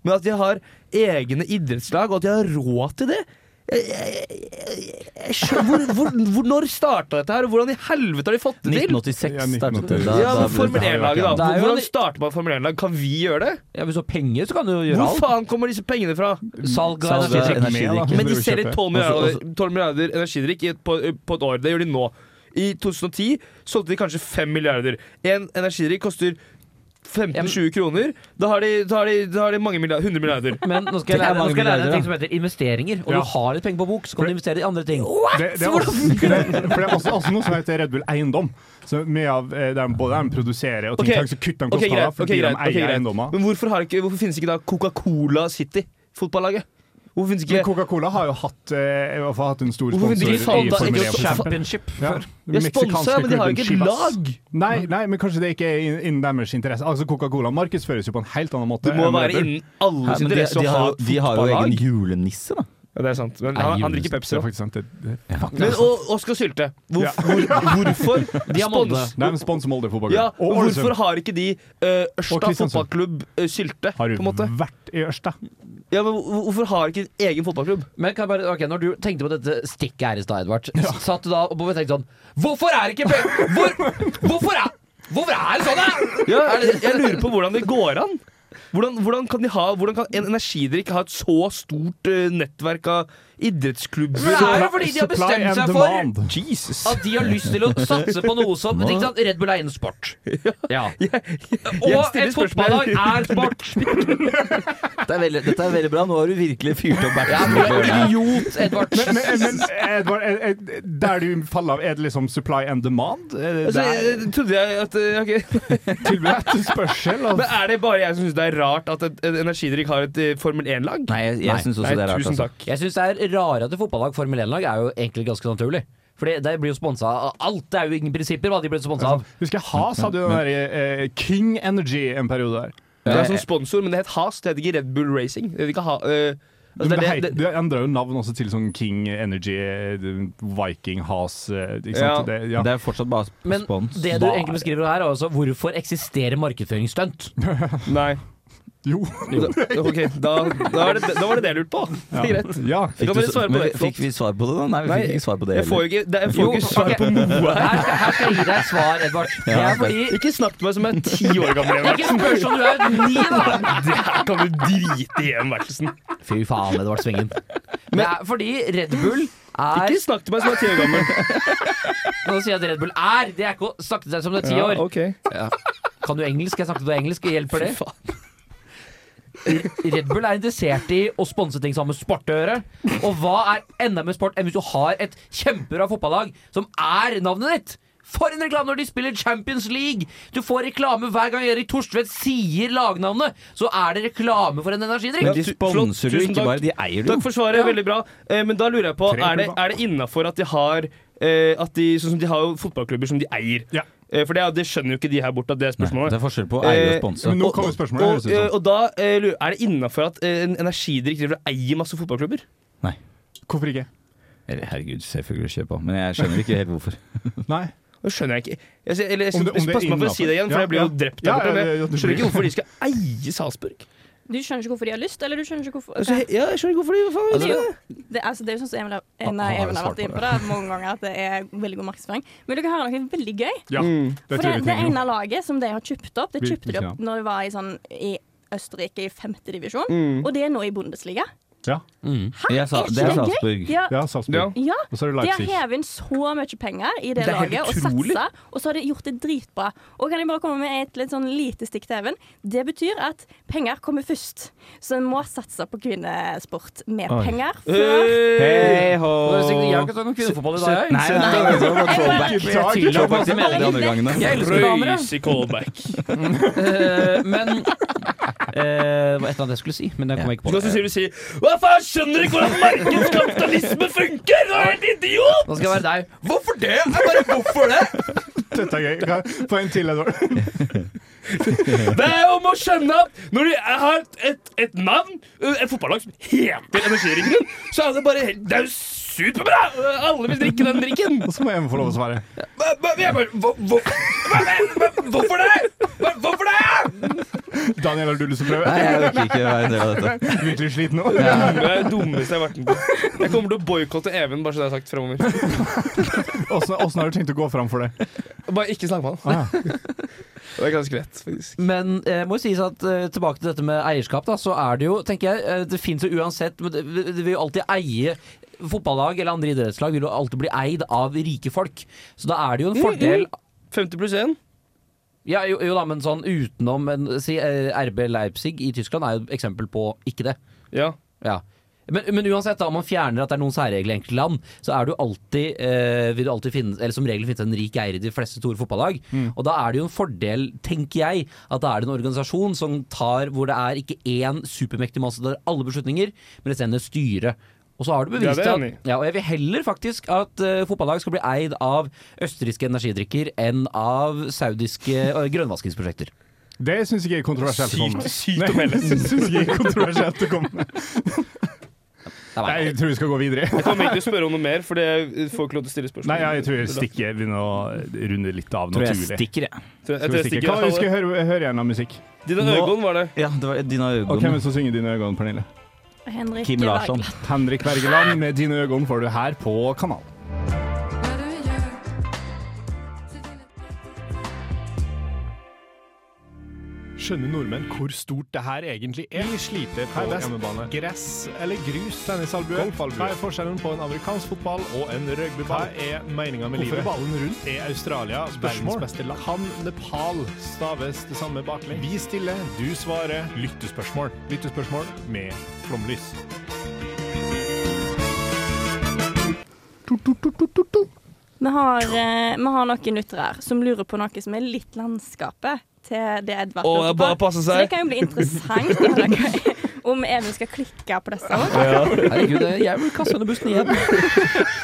men at de har egne idrettslag, og at de har råd til det jeg, jeg, jeg, jeg skjønner, Eh, hvor, hvor, hvor, Når starta dette her, og hvordan i helvete har de fått det til? 1986 Ja, startet det. 1986. Da- Ja, da men ble Formel det- 1-laget, da. Det er jo Hvordan en- starter man Formel 1-lag? Kan vi gjøre det? Ja, Hvis du har penger, så kan du jo gjøre Hvor alt. faen kommer disse pengene fra? Salg Salg av av energidrikk. energidrikk. Men Driver de og selger kjøper. 12 milliarder, 12 milliarder energidrikk i et- på, på et år. Det gjør de nå. I 2010 solgte de kanskje 5 milliarder. En energidrikk koster 15-20 kroner. Da har de, da har de, da har de mange milliarder, 100 milliarder. Men nå skal jeg Det er lære, nå mange skal jeg lære milliarder, en ting som heter investeringer. Og Ja. du har litt penger på bok, så kan du investere i andre ting. Det, det, er også, for det, for det er også, også noe som heter Red Bull Eiendom. Så mye av eh, det de både de produserer og ting, Ok. okay. så kutter de Ok, kostnader greit, fordi ok, greit, de eier ok, greit. eiendommer. Men hvorfor, har ikke, hvorfor finnes ikke da Coca-Cola City, fotballaget? Hvorfor finnes Men ikke Coca-Cola har jo hatt, eh, i hvert fall hatt en stor Hvorfor vil sponsor de i ikke sponse Formel Eggers 1. for eksempel. Championship. Ja, De er meksikanske sponsa, men de har jo klubben ikke et Chivas. lag! Nei, nei, men kanskje det ikke er inn- innen deres interesse. Altså Coca-Cola markedsføres jo på en helt annen måte. Det må enn Red være Bull. innen alle men sine de, interesser de, å ha har, et de har jo egen fotballag. julenisse, da. Ja, det er sant. Men Nei, han, han julen- drikker Pepsi. Det er da. faktisk sant. Det- det- Men, og Oskar Sylte. Hvor, hvor, hvorfor? De har Molde. Spons- Nei, men spons Molde fotballklubb. Ja, og hvorfor Ålesund har ikke de eh, Og Ørsta Kristiansund. fotballklubb eh, Sylte, har på en måte? jo vært i Ørsta. Ja, men hvor- Hvorfor har ikke en egen fotballklubb? Men kan jeg bare, ok, Når du tenkte på dette stikket her i stad, Edvard, satt du da og bare tenkte sånn Hvorfor er det ikke pe- hvor, Hvorfor er Hvorfor er det sånn, da?! Ja, jeg, jeg lurer på hvordan det går an. Hvordan, hvordan, kan, de ha, hvordan kan en energidrikk ha et så stort eh, nettverk av idrettsklubber? Men det er jo fordi de har Supply bestemt and seg for demand. Jesus! at de har lyst til å satse på noe som ikke sant, Red Bull er innen sport. Ja. jeg Og stiller et fotballag er sport! Dette er veldig, dette er veldig bra. Nå har du virkelig fyrt opp Ja, bæsjen. du er en idiot, Edvard. Men, men Edvard, er- er- der du faller av, er det liksom supply and demand? Er det Altså, jeg, der jeg trodde jeg at eh, ok. tilbud og etterspørsel? Men Altså. Er det bare jeg som syns det er rart at et, en energidrikk har et eh, Formel 1-lag? Nei, jeg, jeg syns også det er rart. tusen Altså. takk. Jeg syns det er rarere at fotballag Formel 1-lag er jo egentlig ganske naturlig. Fordi de blir jo sponsa av alt. Det er jo ingen prinsipper hva de blir sponsa av. Husker jeg Has hadde jo den der eh, King Energy en periode der. Det er som sponsor, men det het Has. Det heter ikke Red Bull Racing. Det heter ikke ha, eh, altså, Men det, det, er heit- det, det, det endra jo navn også til sånn King Energy, eh, Viking, Has eh, ikke sant? Ja. Det, ja. Det er fortsatt bare Men spons. det du egentlig beskriver her, er altså hvorfor eksisterer markedsføringsstunt? nei. Jo. Da, ok, da, da, var det, da var det det jeg lurte på. Det er greit. Ja. Da Fikk, kan du, dere svare på men, det, fikk vi svar på det, da? Nei, vi Nei, fikk ikke svar på det Jeg får heller. jo ikke, det, jeg får Jo, ikke svar ok. på noe her. Her, her skal jeg gi deg et svar, Edvard. Ja, Det er fordi Ikke snakk til meg som jeg er ti år gammel. Ikke spør som du er ni, da! Det her kan du drite i, Emvertsen. Fy faen, Edvard Svingen. Det er fordi Red Bull er Ikke snakk til meg som jeg er ti år gammel. Nå sier jeg at Red Bull er! Det er ikke å snakke til deg som du er ti år. ok. Kan du engelsk? Jeg snakket på engelsk. Hjelper det? Red Bull er interessert i å sponse ting som har med sport å gjøre. Og hva er enda mer sport enn hvis du har et kjempebra fotballag som er navnet ditt? For en reklame når de spiller Champions League! Du får reklame hver gang Erik Thorstvedt sier lagnavnet! Så er det reklame for en energidrikk! Men de sponser du Tusen ikke takk. bare, de eier Takk du. for svaret, veldig bra. Eh, Men da lurer jeg på, er det, er det innafor at de har eh, at de, sånn som de har jo fotballklubber som de eier. Ja. Eh, For det, er- det skjønner jo ikke de her borte, at det er Nei, spørsmålet. det er forskjell på å eie og Eh, sponse. Men nå Og- kommer spørsmålet. og, høres det ut som. eh, og da eh, lurer- er det innafor at eh, en energidrikk driver og eier masse fotballklubber? Hvorfor ikke? Eller herregud, selvfølgelig kjør på. Men jeg skjønner ikke helt hvorfor. Nei. Det skjønner jeg ikke. Jeg, ser- eller, jeg, Om skal- det- om det er pass meg for å si det igjen, for innenfor. jeg blir jo Ja, ja. drept der Ja, borte. ja, Men ja, ja, jeg du skjønner ikke blir- hvorfor de skal eie Salzburg. Du skjønner ikke hvorfor de har lyst, eller du skjønner ikke hvorfor Altså, Ok. he- ja, jeg skjønner ikke hvorfor de hva faen, Det er jo- det, altså, det er jo sånn som Emil, har- eh, nei, han har jo Even har svart vært inne på det mange ganger, at det er veldig god markedsføring. Men dere hører noe veldig gøy. eh, Ja, mm. det For tror jeg det, vi det trenger. nå. ene laget som de har kjøpt opp, det Vi- kjøpte de opp ja. når de var i, sånn, i Østerrike i femte divisjon, og det er nå i Bundesliga. Ja, Jeg Er ikke sa, det er gøy? Salzburg. Ja, ja Salzburg. Ja. ja. Og så er det De har Leipzig. hevet inn så mye penger i det, Det er helt laget og utrolig. satsa, og så har de gjort det dritbra. Og kan jeg bare komme med et litt sånn lite stikk til Even? Det betyr at penger kommer først, så en må satse på kvinnesport med penger Øh, før Hei ho! Jeg har ikke sagt noe kvinnefotball i dag, jeg. Nei, nei, nei, det var throwback. Jeg Throwback til alle de andre gangene. Jeg elsker damer, jeg. Røyse callback. Eh, men eh, Det var et eller annet jeg skulle si, men det kom jeg ikke Nå på. skal du si Hva faen, skjønner du ikke hvordan markedskapitalisme funker?! Du er helt idiot! Nå skal jeg være deg. Hvorfor det? Jeg bare, hvorfor det? Dette er gøy. Kan- Få en til, Edvard. Det er om å skjønne at når du har et, et, et navn, et fotballag som heter Energiringen, så er det bare helt Det er jo superbra! Alle vil drikke den drikken. Og så må jeg få lov å svare. Men- men jeg bare, hvor- hvor- men- Hvorfor det?! Men Hvorfor det?! Daniel, har du lyst til å prøve? Nei, jeg orker ikke være en del av dette. Virkelig sliten nå? Det er det dummeste jeg har vært med på. Jeg kommer til å boikotte Even, bare så det er sagt fremover. Åssen åssen har du tenkt å gå fram for det? Bare ikke snakk med han. Ah, ja. Det er ganske greit, faktisk. Men eh, må jo sies at eh, tilbake til dette med eierskap, da, så er det jo, tenker jeg, eh, det fins jo uansett men det, det vil jo alltid eie Fotballag eller andre idrettslag vil jo alltid bli eid av rike folk. Så da er det jo en fordel 50 pluss 1. ja, jo, jo da, men sånn utenom en, si, eh, RB Leipzig i Tyskland er jo et eksempel på ikke det. Ja. Ja. Men, men uansett, da, om man fjerner at det er noen særregler i enkelte land, så er du alltid, eh, vil du alltid finne, eller som regel finnes det en rik eier i de fleste store fotballag. Mm. Og da er det jo en fordel, tenker jeg, at da er det en organisasjon som tar hvor det er ikke én supermektig mann som tar alle beslutninger, men isteden et styre. Og så har du Ja, bevist det er jeg at enig i. ja, og jeg vil heller faktisk at eh, fotballag skal bli eid av østerrikske energidrikker enn av saudiske eh, grønnvaskingsprosjekter. Det syns jeg ikke er kontroversielt å komme med. Sykt, sykt Nei, å melde. det synes jeg ikke er kontroversielt å komme med. Det er Nei, meg. jeg tror vi skal gå videre. Jeg kommer ikke til å spørre om noe mer, for det får ikke lov til å stille spørsmål. Nei, jeg tror stikket begynner å runde litt av Tror jeg naturlig. stikker, jeg. Tror jeg- Skal tror vi jeg stikke? stikker. Hva vi skal høre, høre igjen av musikk? Dine Nå- øyne var det. Ja, det var Dina Øgon. Og hvem er det som synger 'Dine øyne', Pernille? Henrik Kim Larsson. Henrik Bergeland med 'Dine øyne' får du her på kanalen. Skjønner nordmenn hvor stort det her egentlig er? Vi sliter på hjemmebane. Gress eller grus? Tennisalbue? Hva er forskjellen på en amerikansk fotball og en rugbyball? Hva er meninga med livet? ballen rundt? Er Australia verdens beste land? Kan Nepal staves det samme baklengs? Vi stiller, du svarer. Lyttespørsmål. Lyttespørsmål med flomlys. Vi har, eh, vi har noen lyttere her som lurer på noe som er litt landskapet til det Edvard Å, lurte bare på. passe Så det seg. kan jo bli interessant å høre hva- om Even skal klikke på disse òg. Herregud, jeg- jeg vil kaste under bussen igjen.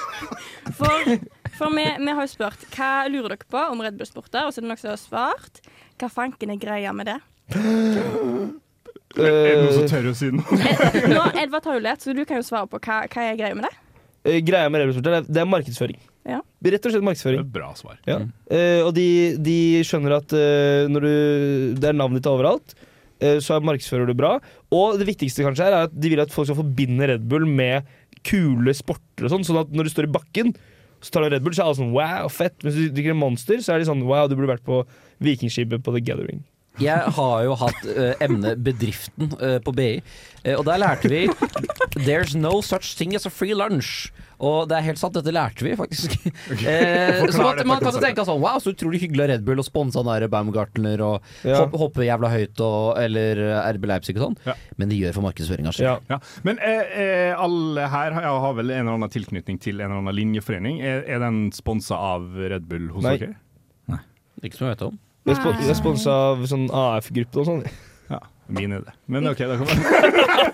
For, for vi, vi har jo spurt hva lurer dere på om Red Bull-sporter, og så er det noen som har svart. Hva fanken er greia med det? Er det noen som tør å si noe? Eh, Nå, Edvard har jo lett, så du kan jo svare på hva, hva er greia med det. Eh, Greia med Rebelsorter er, det er markedsføring. Ja. Rett og slett Det er markedsføring. et bra svar. Ja. Eh, og de, de skjønner at eh, når du, det er navnet ditt overalt, eh, så er markedsfører du bra. Og det viktigste kanskje er at de vil at folk skal forbinde Red Bull med kule sporter og sånn, sånn at når du står i bakken så tar du Red Bull, så er alle sånn wow, fett. Mens du drikker en Monster, så er de sånn wow, du burde vært på Vikingskipet på The Gathering. Jeg har jo hatt eh, emnet Bedriften eh, på BI, eh, og der lærte vi There's no such thing as a free lunch. Og det er helt sant, dette lærte vi faktisk. Eh, så man, man kan jo tenke sånn Wow, så utrolig hyggelig av Red Bull å sponse han der Baumgartner og Ja. hoppe, hoppe jævla høyt og, eller eh, RB Leipzig og sånn, Ja. men de gjør for markedsføringa si. Ja. Ja. Men eh, eh, alle her har, ja, har vel en eller annen tilknytning til en eller annen linjeforening. Er, er den sponsa av Red Bull hos Nei. dere? Ikke som jeg vet om. Vi er spon- vi er sponsa av sånn AF-gruppe og sånn. Ja, min er det. Men OK, da kan man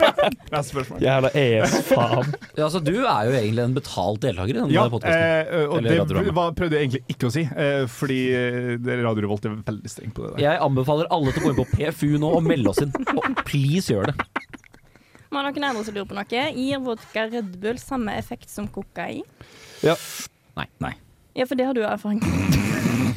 Neste spørsmål. Jævla E ES-faen. Ja, altså, du er jo egentlig en betalt deltaker i denne Ja, podkasten. eh, og Eller det radioramma. var, prøvde jeg egentlig ikke å si, eh, fordi eh, det- Radio Revolt er veldig streng på det der. Jeg anbefaler alle til å gå inn på PFU nå og melde oss inn. Og please gjør det. Vi har noen andre som lurer på noe. Gir vodka Red Bull samme effekt som kokain? Nei. Nei. Ja, for det har du erfaring med.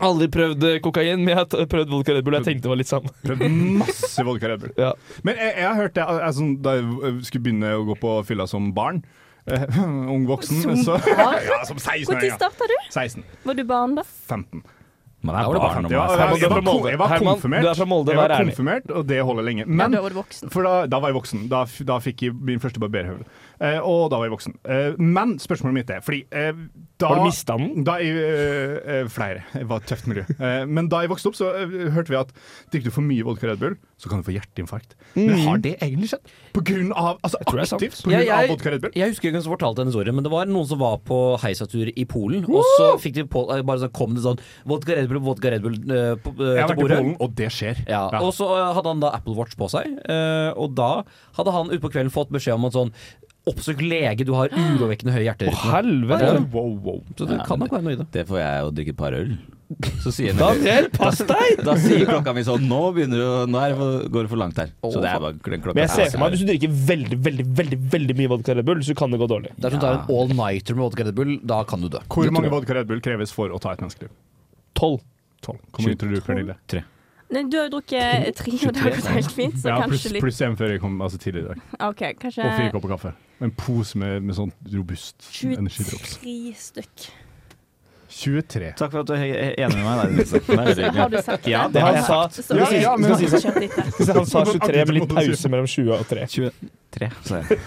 Aldri prøvd eh, kokain, men jeg har t- prøvd vodka Red Bull. Jeg tenkte det var litt samme. Prøvd masse vodka Red Bull. Ja. Men eh, jeg, jeg har hørt det jeg, jeg, sånn, da jeg skulle begynne å gå på fylla som barn, eh, ung voksen Som så, barn? Ja, som 16 Når starta du? 16. Var du barn da? 15. Men Da var det barn Ja, altså. jeg, Herman, jeg, du er fra var, Molde. jeg var Herman, konfirmert. du er fra Molde, jeg var vær ærlig. konfirmert, og det holder lenge. Ja, Men da var du voksen. for da, da var jeg voksen. Da, f- da fikk jeg min første barberhøvel. Eh, og da var jeg voksen. Eh, men spørsmålet mitt er fordi eh, da, Har du mista den? da jeg, eh, eh, Flere. Det var et tøft miljø. Eh, men da jeg vokste opp, så eh, hørte vi at drikker du for mye vodka Red Bull, så kan du få hjerteinfarkt. Men har det egentlig skjedd? På grunn av, altså Mm. tror det er sant. aktivt på grunn Ja, av jeg- vodka Red Bull? Jeg husker ikke hvem som fortalte denne historien, men det var noen som var på heisatur i Polen. Og så fikk de på, eh, bare så kom det sånn vodka Red Bull, vodka Red Bull eh, på, eh, Jeg har til vært i bordet. Polen, og det skjer. Ja, Ja. Og så eh, hadde han da Apple Watch på seg, eh, og da hadde han utpå kvelden fått beskjed om at sånn Oppsøk lege, du har urovekkende høy hjerterytme. Helvete. Altså, Wow, wow. Så det kan nok være noe i det. Det får jeg å drikke et par øl. Så sier Daniel, pass deg! Da sier klokka mi sånn Nå, begynner du, å- nå er det for, går det for langt her. Så det er bare den klokka Men jeg ser er- for meg at hvis du drikker veldig veldig, veldig, veldig mye vodka Red Bull, så kan det gå dårlig. Dersom du tar en all-nighter med vodka Red Bull, da kan du dø. Hvor mange vodka Red Bull kreves for å ta et menneskeliv? Tolv. Tolv. Hvor mye tror du, Pernille? Nei, du har jo drukket tre, og det har gått helt fint, så Ja, pluss, kanskje litt pluss en før jeg kom altså, tidlig i dag. OK, kanskje Og fire kopper kaffe. En pose med, med sånn robust energidrops. 23 stykk. 23. Takk for at du er he- enig med meg. Det er det er veldig hyggelig. Har du sagt Ja, det? det har jeg sa, Så Ja, vi- ja, men- vi skal kjøpe litt der. han sa 23 med litt pause mellom 20 og 3. Tre, sa jeg.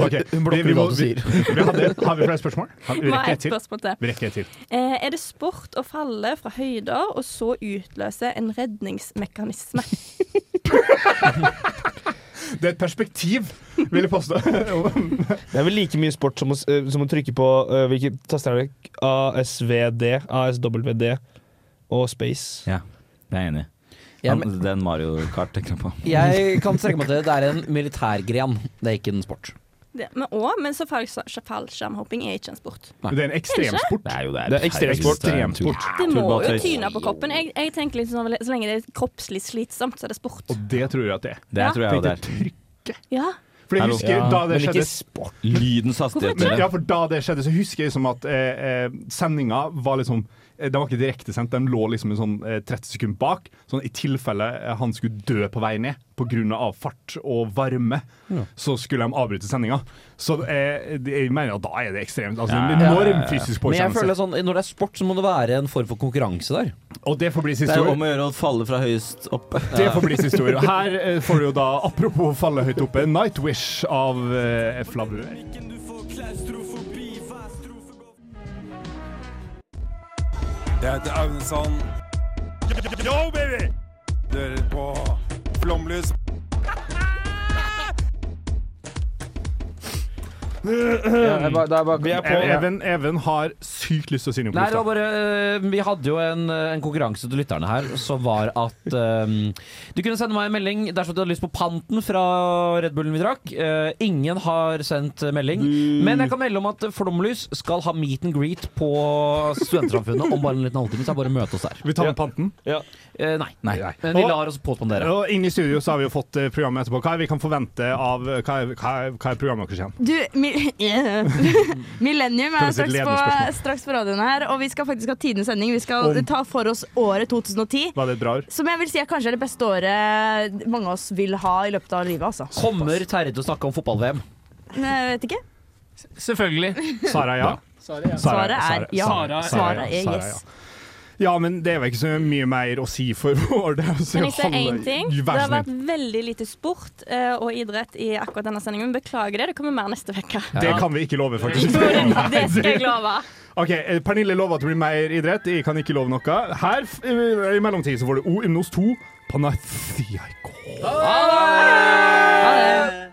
Ok, vi, vi, må, vi, vi hadde, har vi flere spørsmål? Har- Vi Nå har rekker et jeg et til. spørsmål til. Vi rekker et til. Eh, Er det sport å falle fra høyder og så utløse en redningsmekanisme? Det er et perspektiv, vil jeg påstå. Det er vel like mye sport som å, s- eh, som å trykke på eh, hvilke taster er det? ASVD, ASWD og Space. Ja, det er jeg enig i. Ja, Han- Den Mario Kart tenker jeg på. Jeg kan strekke meg til det er en militærgren, det er ikke en sport. Det, men, og, men så fall- fallskjermhopping er ikke en sport. Det er en ekstremsport. Det er jo Det er ekstremsport. Ekstremsport. Det må jo Turbatøys. tyne på kroppen. Jeg, jeg tenker litt sånn, Så lenge det er kroppslig slitsomt, så er det sport. Og det tror jeg at det er. Det Ja. tror jeg jo det er. Ja. For jeg Hallo. husker da det Men skjedde ikke sport. Lydens hastighet. dere. Ja, for da det skjedde, så husker jeg liksom at eh, eh, sendinga var liksom eh, Den var ikke direktesendt, den lå liksom en sånn eh, 30 sekunder bak. Sånn i tilfelle eh, han skulle dø på vei ned pga. fart og varme, så skulle de avbryte sendinga. Så eh, det- jeg mener at da er det ekstremt. Altså Ja, en ja, ja, ja. enorm fysisk Men jeg føler påkjennelse. sånn, når det er sport, så må det være en form for konkurranse der. Og det får bli Det siste er jo ord. om å gjøre å falle fra høyest opp. Det får bli siste ord. Her eh, får du jo da, apropos falle høyt oppe, 'Nightwish' av eh, Flabu. Jeg heter Aune Sand. Yo, baby! Du hører på Flomlys. Vi er på Even, Even har sykt lyst til å si noe på Nei, det lufta. var bare øh, Vi hadde jo en, øh, en konkurranse til lytterne her som var at øhm, Du kunne sende meg en melding dersom du hadde lyst på panten fra Red Bullen vi drakk. Eh, ingen har sendt melding, men jeg kan melde om at Flomlys skal ha meet and greet på Studentsamfunnet om bare en liten halvtime. Så det er bare å møte oss der. Vi tar med panten. Eh, nei. Nei. Men vi lar oss påspandere. Og inn i studio så har vi jo fått eh, programmet etterpå. Hva er vi kan forvente av eh, Hva er, hva er, hva er programmet deres igjen? Du, mi Eh, Millennium Kan er du si et straks på, ledende straks på radioen her, og vi skal faktisk ha tidens sending. Vi skal Om- ta for oss året 2010. Hva er det et bra ord? Som jeg vil si er kanskje det beste året mange av oss vil ha i løpet av livet. altså Kommer Terje til å snakke om fotball-VM? Men Jeg vet ikke. Selvfølgelig. Sara ja? Sara, Svaret er ja. Sara- Svaret er Sara, yes. ja. ja, men det er vel ikke så mye mer å si for vår del. så Men jeg sier halve- én ting. Det Vær så har snill. vært veldig lite sport eh, og idrett i akkurat denne sendingen. Beklager det. Det kommer mer neste uke. Det kan vi ikke love, faktisk. Det skal jeg love. Ok, eh, Pernille lover at det blir mer idrett. Jeg kan ikke love noe. Her f- eh, i i mellomtid så får du O Ymnos 2. Panathiaiko. Ha det.